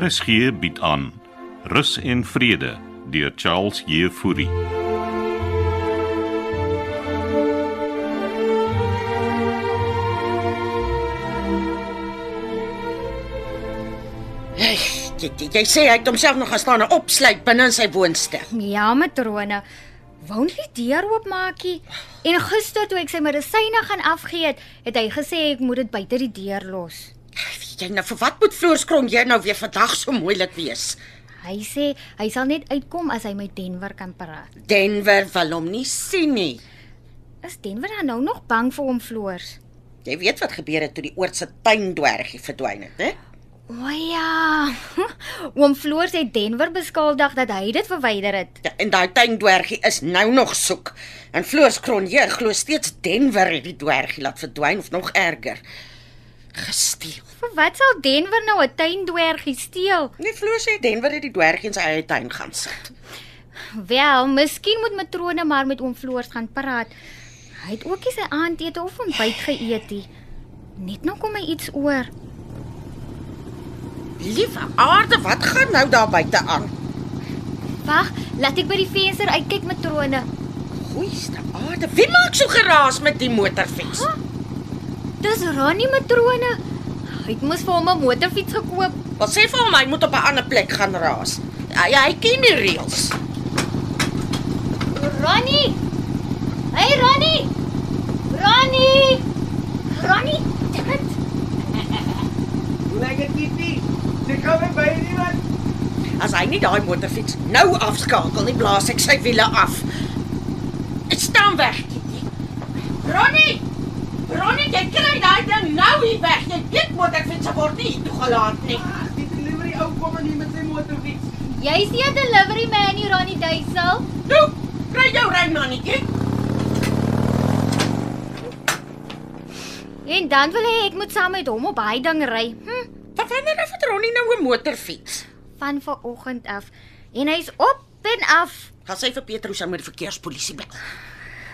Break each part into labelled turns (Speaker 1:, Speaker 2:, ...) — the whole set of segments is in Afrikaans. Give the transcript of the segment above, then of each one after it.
Speaker 1: RSG bied aan Rus en Vrede deur Charles Jefouri.
Speaker 2: Jy, jy, jy- jy sê hy het homself nog gaan staan en opsluit binne in sy woonstel.
Speaker 3: Ja, matrone. Wou nie die deur oopmaakie. En gister toe ek sy medisyne gaan afgee het, het hy gesê ek moet dit buite die deur los.
Speaker 2: Weet Jy nou vir wat moet Floors Krong jy nou weer vandag so moeilik wees?
Speaker 3: Hy sê hy sal net uitkom as hy met Denver kan praat.
Speaker 2: Denver wil hom nie sien nie.
Speaker 3: Is Denver dan nou nog bang vir hom floors?
Speaker 2: Jy weet wat gebeur het toe die oord se tuindwergie verdwyn het, hè?
Speaker 3: O ja. Oom Floors het Denver beskuldig dat hy dit verwyder het.
Speaker 2: Ja, en daai tuindwergie is nou nog soek. En Floors Kronje glo steeds Denver het die dwergie laat verdwyn of nog erger. Gesteel.
Speaker 3: Vir wat sal Denver nou 'n tuindwergie steel?
Speaker 2: Nee, Floors sê Denver het die dwergie in sy eie tuin gaan sit.
Speaker 3: Wel, miskien moet matrone maar met oom Floors gaan praat. Hy het ook nie sy aandete of ontbyt geëet nie. Net nou kom hy iets oor.
Speaker 2: Liewe aarde, wat gaan nou daar buite aan?
Speaker 3: Wag, laat ek by die venster uitkyk matrone.
Speaker 2: Goeieste aarde, wie maak so geraas met die motorfiets?
Speaker 3: Huh? Dis Ronnie matrone. Hy het mos vir hom 'n motorfiets gekoop.
Speaker 2: Wat sê vir hom hy moet op 'n ander plek gaan raas? Hy, hy ken die reëls.
Speaker 3: Ronnie! Hey Ronnie! Ronnie! Ronnie, dit.
Speaker 4: Hoe lyk dit Titie? Sy kom by iemand.
Speaker 2: As hy nie daai motorfiets nou afskakel nie, blaas ek sy wiele af. Dit staan weg. Kitty. Ronnie! Ronnie, jy kry daai ding nou hier weg. Jy weet motorfiets word nie hier toegelaat nie.
Speaker 4: Die delivery ou kom en hy met sy motorfiets.
Speaker 3: Jy's nie 'n delivery man nie, Ronnie Duisel.
Speaker 2: Nou, kry jou ry mannetjie.
Speaker 3: En dan wil hy ek moet saam met hom op hy ding ry. Hm.
Speaker 2: Van wanneer af het Ronnie nou 'n motorfiets?
Speaker 3: van vanoggend af en hy's op en af.
Speaker 2: Gaan sy vir Petrus aan met die verkeerspolisie bel.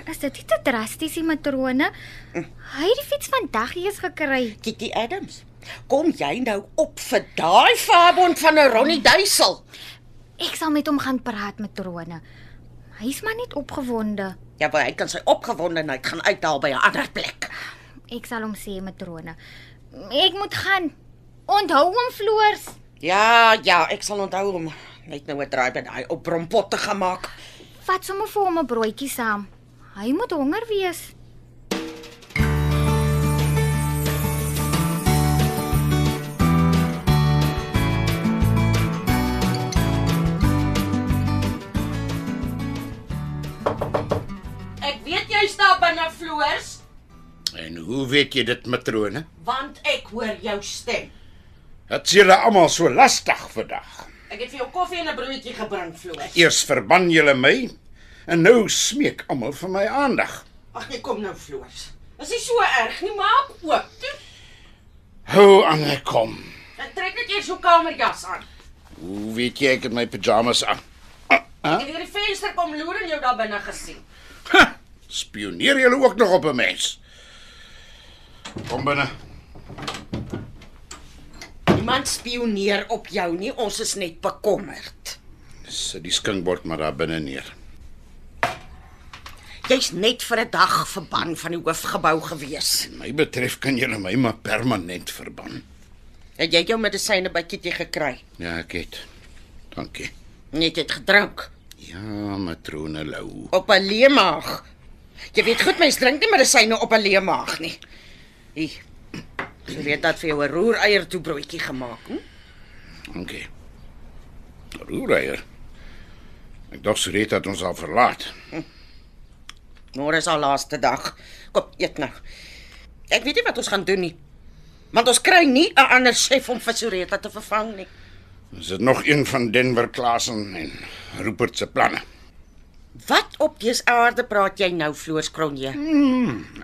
Speaker 3: Is dit nie te drasties die matrone? Hy het die fiets vandag eers gekry.
Speaker 2: Kitty Adams. Kom jy nou op vir daai vaarbond van 'n Ronnie Duisel?
Speaker 3: Ek sal met hom gaan praat matrone. Hy's maar net opgewonde.
Speaker 2: Ja, maar hy kan sy opgewondenheid gaan uithaal by 'n ander plek.
Speaker 3: Ek sal hom sê matrone. Ek moet gaan. Onthou hom floors.
Speaker 2: Ja, ja, ek sal onthou om net nou 'n draai by daai op brompotte gemaak.
Speaker 3: Vat sommer vir hom 'n broodjie saam. Hy moet honger wees.
Speaker 2: Ek weet jy staan binne floors,
Speaker 5: En hoe weet jy dit, matrone?
Speaker 2: want ek hoor jou stem.
Speaker 5: Dit is julle almal so lastig vandag.
Speaker 2: Ek het vir jou koffie en 'n broodjie gebring, floors.
Speaker 5: Eers verban julle my en nou smeek almal vir my aandag.
Speaker 2: Ag nee, kom nou floors. Is nie so erg nie, maak oop. Toe.
Speaker 5: Hou aan ek kom.
Speaker 2: Ek trek net eers jou kamerjas aan.
Speaker 5: Hoe weet jy ek het my pyjamas aan? Ah,
Speaker 2: Ek het deur die venster kom loer en jou daar binne gesien.
Speaker 5: Ha, spioneer julle ook nog op 'n mens? Kom binne.
Speaker 2: Niemand spioneer op jou nie, ons is net bekommerd.
Speaker 5: Sit die skinkbord maar daar binne neer.
Speaker 2: Jy's net vir 'n dag verban van die hoofgebou gewees.
Speaker 5: My betref kan julle my maar permanent verban.
Speaker 2: Het jy jou medisyne by Kitty gekry?
Speaker 5: Ja, ek het. Dankie.
Speaker 2: Net het gedrink
Speaker 5: Ja, matrone Lou.
Speaker 2: op 'n leemaag. Jy weet goed mens drink nie medisyne op 'n leemaag nie. Hier. Jy weet dat vir jou 'n roereier toe broodjie gemaak. Hm?
Speaker 5: Dankie. Roereier. Ek dink Sureta het ons al verlaat.
Speaker 2: Môre is haar laaste dag. Kom, eet nou. Ek weet nie wat ons gaan doen nie. Want ons kry nie 'n ander chef om vir Soreta te vervang nie.
Speaker 5: Is dit nog een van Denver Klasen en Rupert se planne?
Speaker 2: Wat op dese aarde praat jy nou, Floors Kronje?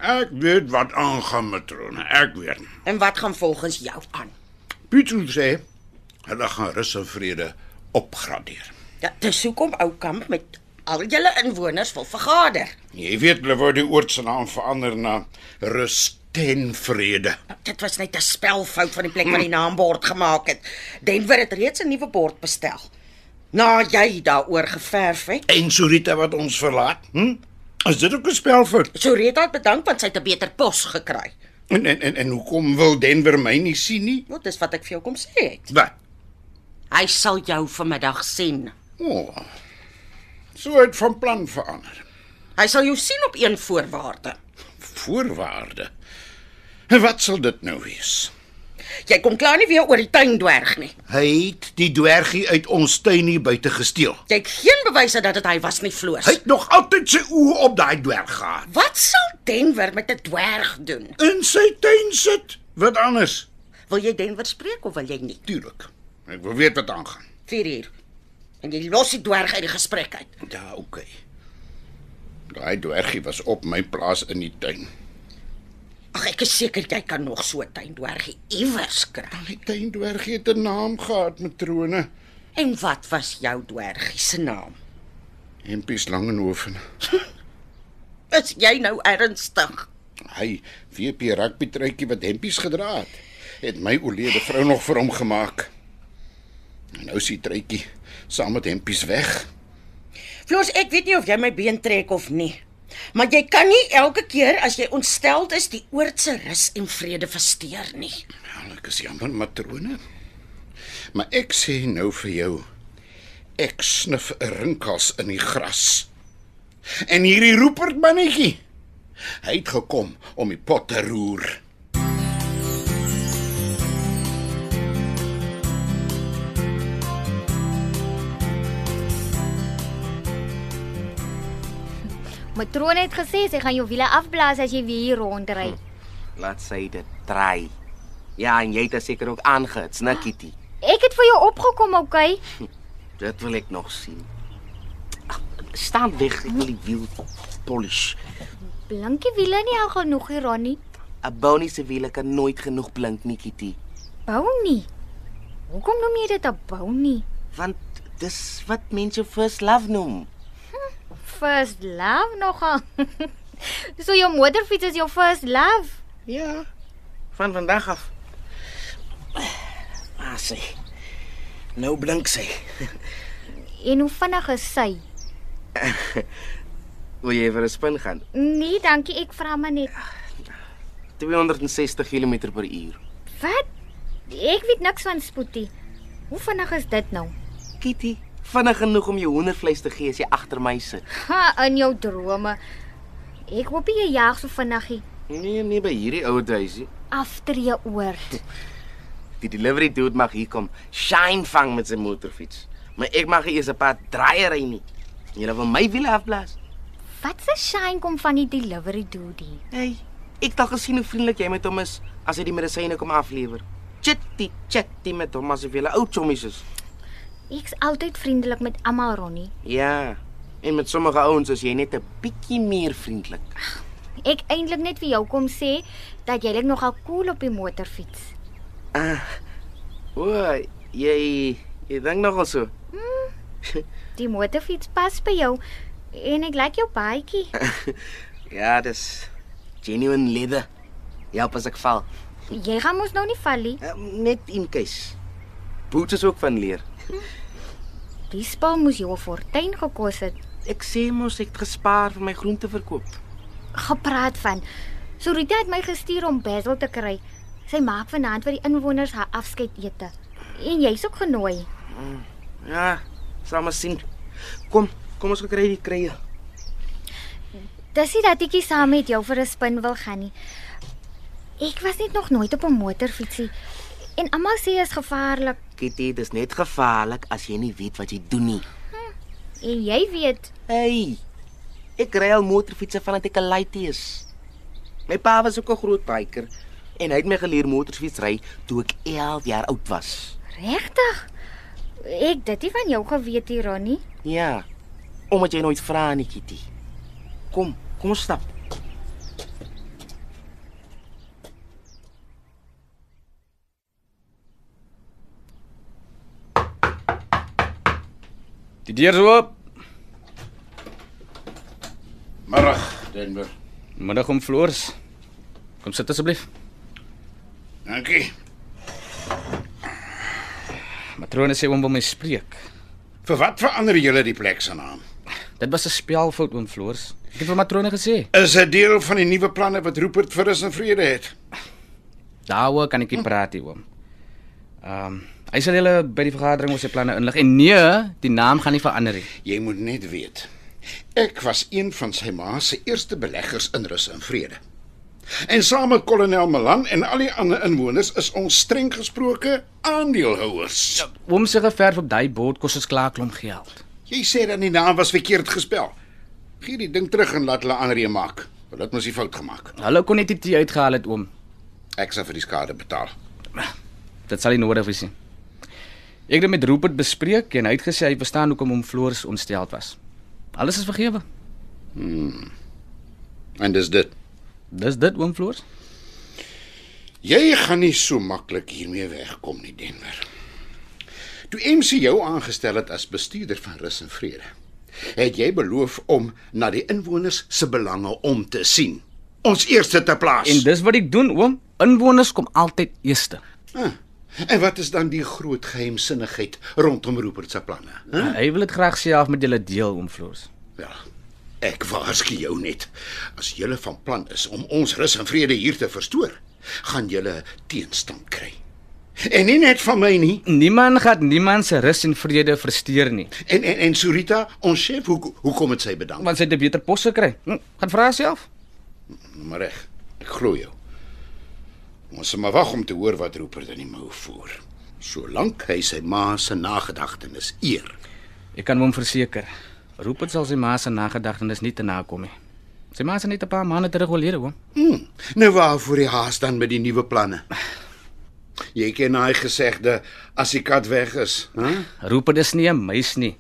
Speaker 5: Ek weet wat aangaan matrone, ek weet.
Speaker 2: En wat gaan volgens jou aan?
Speaker 5: Pieter sê hulle gaan rus en vrede opgradeer.
Speaker 2: Ja, dis hoekom Oukamp met al julle inwoners wil vergader.
Speaker 5: Jy weet hulle wou die oord se naam verander na Rus ten vrede.
Speaker 2: Nou, Dit was net 'n spelfout van die plek waar die naambord gemaak het. Denver het reeds 'n nuwe bord bestel. Na jy daaroor geverf het.
Speaker 5: En Surita wat ons verlaat? Hm? Is dit ook 'n spelfout?
Speaker 2: Soreta het bedank want sy het 'n beter pos gekry.
Speaker 5: En en en, en hoekom wil Denver my nie sien nie?
Speaker 2: Nou, dis wat ek vir jou kom sê het.
Speaker 5: Wat?
Speaker 2: Hy sal jou vanmiddag sien.
Speaker 5: O. Oh, so het van plan verander.
Speaker 2: Hy sal jou sien op een voorwaarde.
Speaker 5: Voorwaarde. En wat sal dit nou wees?
Speaker 2: Jy kom klaar nie weer oor die tuindwerg nie.
Speaker 5: Hy het die dwergie uit ons tuin hier buite gesteel.
Speaker 2: Jy het geen bewyse dat dit hy was nie, Floors.
Speaker 5: Hy het nog altyd sy oë op daai dwerg gehad.
Speaker 2: Wat sal Denver met 'n dwerg doen?
Speaker 5: In sy tuin sit. Wat anders?
Speaker 2: Wil jy Denver spreek of wil jy nie?
Speaker 5: Tuurlik. Ek wil weet wat aangaan.
Speaker 2: 4 uur. En jy los die dwerg uit die gesprek uit.
Speaker 5: Ja, okay. Daai dwergie was op my plaas in die tuin.
Speaker 2: Ag, ek is seker jy kan nog so 'n tuindwergie iewers kry.
Speaker 5: Die tuindwergie het 'n naam gehad, matrone.
Speaker 2: En wat was jou dwergie se naam?
Speaker 5: Hempies Langenhoven.
Speaker 2: Is jy nou ernstig?
Speaker 5: Hy WP rugby truitjie wat hempies gedra het, het my oorlede vrou nog vir hom gemaak. En nou is die truitjie saam met hempies weg.
Speaker 2: Floors, ek weet nie of jy my been trek of nie. Maar jy kan nie elke keer as jy ontsteld is die oordse rus en vrede versteur nie.
Speaker 5: Wel, Ja, ek is jammer, matrone. Maar ek sê nou vir jou, ek snif 'n rinkels in die gras. En hierdie Rupert mannetjie, hy het gekom om die pot te roer.
Speaker 3: Matrone het gesê sy gaan jou wiele afblaas as jy weer hier rondry.
Speaker 6: Laat sy dit try. Ja, en jy het haar seker ook aangehits, né Kitty?
Speaker 3: Ek het vir jou opgekom, okay?
Speaker 6: Dit wil ek nog sien. Ag, Staan weg, ek wil die wiel polish.
Speaker 3: Blinkie wiele nie al genoeg hier aan nie.
Speaker 6: Een Bonnie se wiele kan nooit genoeg blink nie, Kitty,
Speaker 3: Bou nie. Hoekom noem jy dit 'n bou nie?
Speaker 6: want dis wat mense first love noem.
Speaker 3: First love nogal. so jou motorfiets is jou first love.
Speaker 6: Ja. Van vandag af. Ah, sy. Nou blink sy.
Speaker 3: En hoe vinnig is sy?
Speaker 6: Wil jy vir 'n spin gaan?
Speaker 3: Nee, dankie, ek vra maar net.
Speaker 6: 260 km/h.
Speaker 3: Wat? Ek weet niks van spoetie. Hoe vinnig is dit nou?
Speaker 6: Kitty, vinnig genoeg om jou hoendervleis te gee as jy agter my sit.
Speaker 3: Ha, in jou drome. Ek hoop nie jy jaag so vinnigie
Speaker 6: Nee, nee by hierdie ou huisie.
Speaker 3: aftree oor.
Speaker 6: Die delivery dude mag hier kom. Shine vang met sy motorfiets. Maar ek mag nie eers 'n paar draaiery nie. Jy wil my wiele afblaas.
Speaker 3: Wat se shine kom van die delivery dude?
Speaker 6: Hey, ek het al gesien hoe vriendelik jy met hom is as hy die medisyne kom aflewer. Chitty chitty met hom asof jy 'n ou chommies is.
Speaker 3: Ek's altyd vriendelik met almal, Ronnie.
Speaker 6: Ja. En met sommige ouens is jy net 'n bietjie meer vriendelik.
Speaker 3: Ek eintlik net vir jou kom sê dat jy lyk nogal cool op die motorfiets.
Speaker 6: Ah. O, jy jy dink nogal so.
Speaker 3: Die motorfiets pas by jou en ek like jou baadjie.
Speaker 6: Ja, dis genuine leather. Ja, pas ek val.
Speaker 3: Jy gaan mos nou nie val nie.
Speaker 6: Eh, Net in case. Boots is ook van leer.
Speaker 3: Die spul moes jou 'n fortuin gekos het.
Speaker 6: Ek sê mos ek het gespaar vir my groente verkoop.
Speaker 3: Gepraat van. Sorita het my gestuur om Basil te kry. Sy maak vanaand vir die inwoners haar afskeidete. En jy's ook genooi.
Speaker 6: Ja, sal maar sien. Kom, kom ons kry die krye.
Speaker 3: Dis nie dat ekie saam met jou vir 'n spin wil gaan nie. Ek was net nog nooit op 'n motorfietsie en almal sê is gevaarlik
Speaker 6: Kitty, dis net gevaarlik as jy nie weet wat jy doen nie.
Speaker 3: en jy weet,
Speaker 6: Hey. Ek ry al motorfietsse vandat ek 'n laaitie is. My pa was ook 'n groot biker en hy het my geleer motorfiets ry toe ek 11 jaar oud was.
Speaker 3: regtig. Ek dit nie van jou geweet hier, Ronnie.
Speaker 6: Ja. Omdat jy nooit vra nie, Kitty. Kom, kom ons stap.
Speaker 7: Die deur is oop.
Speaker 5: Middag, Denver.
Speaker 7: Middag om floors. Kom sit asseblief.
Speaker 5: Dankie.
Speaker 7: Matrone sê oom wil my spreek.
Speaker 5: Vir wat verander julle die plek se naam?
Speaker 7: Dit was 'n spelfout oom Floors. Ek het vir matrone gesê,
Speaker 5: Is dit deel van die nuwe planne wat Rupert vir ons in vrede het?
Speaker 7: "Daaroor kan ek nie praat nie, oom." Ehm, um, hy sal julle by die vergadering oor sy planne inlig en nee, die naam gaan nie verander nie.
Speaker 5: Jy moet net weet. Ek was een van sy ma se eerste beleggers in Rus en Vrede. En saam met kolonel Malan en al die ander inwoners is ons streng gesproke aandeelhouers.
Speaker 7: Oom se geverf op daai bord kos ons klaar klomp geld.
Speaker 5: Jy sê dan die naam was verkeerd gespel. Gee die ding terug en laat hulle aanreë maak. Hulle het mos die fout gemaak.
Speaker 7: Hulle kon net die tee uitgehaal het, oom.
Speaker 5: Ek sal vir die skade betaal.
Speaker 7: Dit sal nie nodig wees nie. Ek het dit met Rupert bespreek en hy het gesê hy verstaan hoekom hom Floors ontsteld was. Alles is vergewe.
Speaker 5: En dis dit.
Speaker 7: Dis dit oom Floors.
Speaker 5: Jy gaan nie so maklik hiermee wegkom nie, Denver. Toe MC jou aangestel het as bestuurder van Rus en Vrede, het jy beloof om na die inwoners se belange om te sien. Ons eerste te plaas.
Speaker 7: En dis wat ek doen oom. Inwoners kom altyd eerste.
Speaker 5: ah, en wat is dan die groot geheimsinnigheid rondom Rupert se planne? Huh?
Speaker 7: Huh? Hy wil dit graag self met julle deel oom Floors.
Speaker 5: Wel, ek waarsku jou net. As julle van plan is om ons rus en vrede hier te verstoor, gaan julle teenstand kry. En nie net van my nie.
Speaker 7: Niemand gaan niemand se rus en vrede versteur nie,
Speaker 5: En en en Surita, ons chef, hoe hoekom het sy bedank?
Speaker 7: want sy het 'n beter pos gekry. Hm, gaan vra self.
Speaker 5: Maar reg, ek glo jou. Ons moet maar wag om te hoor wat Rupert in die mou voer. Solank hy sy ma se nagedagtenis eer.
Speaker 7: Ek kan hom verseker. Rupert sal sy ma se nagedagtenis nie te nakom nie. Sy ma se net 'n paar maande terug oorlede oom.
Speaker 5: Hmm, nou waarvoor die haas dan met die nuwe planne? Jy ken daai gesegde as die kat weg is, hè? Huh?
Speaker 7: Rupert is nie 'n muis nie.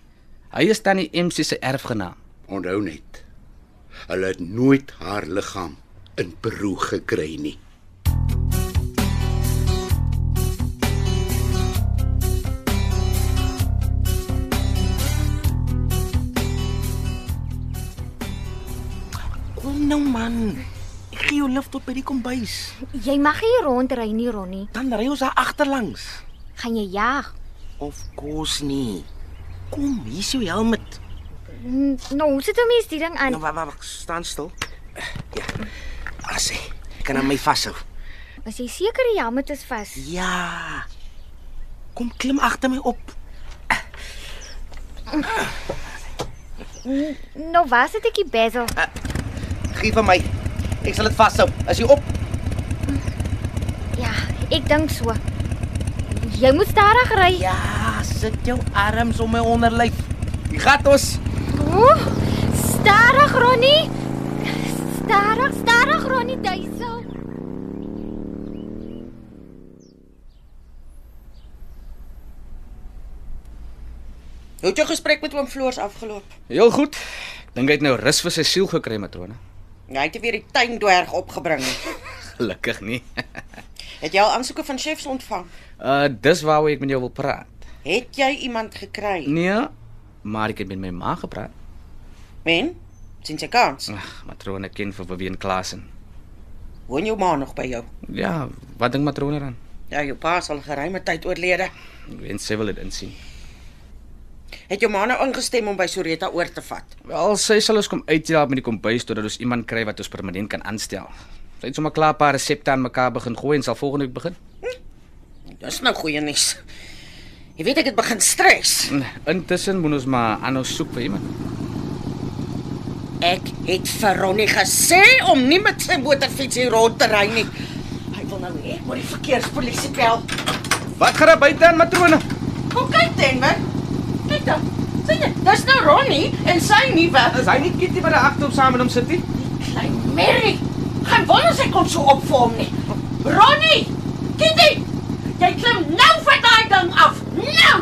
Speaker 7: Hy is tannie MC se erfgenaam.
Speaker 5: Onthou net. Hulle het nooit haar liggaam in Peru gekry nie.
Speaker 6: Kom nou man. Ek gee jou lift tot by die kombuis.
Speaker 3: Jy mag nie rondry nie, Ronnie.
Speaker 6: Dan ry ons daar agterlangs.
Speaker 3: Gaan jy jag?
Speaker 6: Of kos nie. Kom, hier is jou helm.
Speaker 3: N- Nou, hoe sit 'n mens die ding
Speaker 6: Nou
Speaker 3: aan?
Speaker 6: wag, wag, wag, staan stil. Ja. Asse, kan aan my vashou.
Speaker 3: As jy seker die helmet is vas.
Speaker 6: Ja. Kom klim agter my op.
Speaker 3: Nou, was dit ek die bezel?
Speaker 6: Eh. Gee vir my. Ek sal dit vashou. As jy op.
Speaker 3: Ja, ek dink so. Jy moet stadig ry.
Speaker 6: Ja, sit jou arms om my onderlyf. Jy gat ons.
Speaker 3: Ooh, stadig Ronnie. Stadig, stadig Ronnie Duisel.
Speaker 2: Hoe het jou gesprek met oom Floors afgeloop?
Speaker 7: Heel goed. Ek dink hy het nou rus vir sy siel gekry, matrone.
Speaker 2: Hy het weer die tuindwerg opgebring.
Speaker 7: Gelukkig nie.
Speaker 2: Het jy al aansoeke van chefs ontvang?
Speaker 7: Uh dis waaroor ek met jou wil praat.
Speaker 2: Het jy iemand gekry?
Speaker 7: Nee, maar ek het met my ma gepraat.
Speaker 2: Men, sien jy kans?
Speaker 7: Ag, matrone ken vir Beween Klasen.
Speaker 2: Woon jou ma nog by jou?
Speaker 7: Ja, wat dink matrone dan?
Speaker 2: Ja, jou pa is al geruime tyd oorlede.
Speaker 7: Ek weet sy wil dit insien.
Speaker 2: Het jou ma nou ingestem om by Soreta oor te vat?
Speaker 7: Wel, sy sal ons kom uithelp met die kombuis totdat ons iemand kry wat ons permanent kan aanstel. Sy het sommer klaar 'n paar resepte aan mekaar begin gooi en sal volgende week begin.
Speaker 2: Dis nou goeie nuus. Jy weet ek het begin stres.
Speaker 7: Intussen moet ons maar aanhou soek vir iemand.
Speaker 2: Ek het vir Ronnie gesê om nie met sy motorfiets hier rond te ry nie. Hy wil nou hê ek moet die verkeerspolisie bel.
Speaker 7: Wat gaan daar buite aan matrone?
Speaker 2: Kom kyk Denver. Kyk dan. Sien jy, dis nou Ronnie en sy nuwe
Speaker 7: Is hy nie kitty by die agter op saam met hom sit nie?
Speaker 2: klein Mary. Gaan wonder sy kom so op vir hom nie. Ronnie, Kitty, jy klim nou van daai ding af. Nou.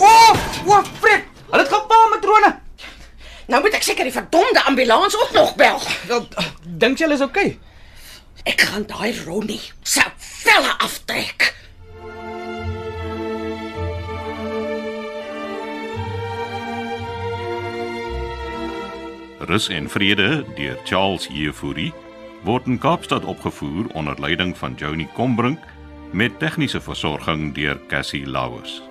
Speaker 7: O, oh, o, oh, frik. Hulle het gepa matrone.
Speaker 2: Nou moet ek seker die verdomde ambulans ook nog bel.
Speaker 7: Wel, eh, Dink jy hulle is okay?
Speaker 2: Ek gaan daai Ronnie se velle aftrek.
Speaker 1: Rus en Vrede deur Charles Jefouri word in Kaapstad opgevoer onder leiding van Johnny Combrink met tegniese versorging deur Cassie Lauers.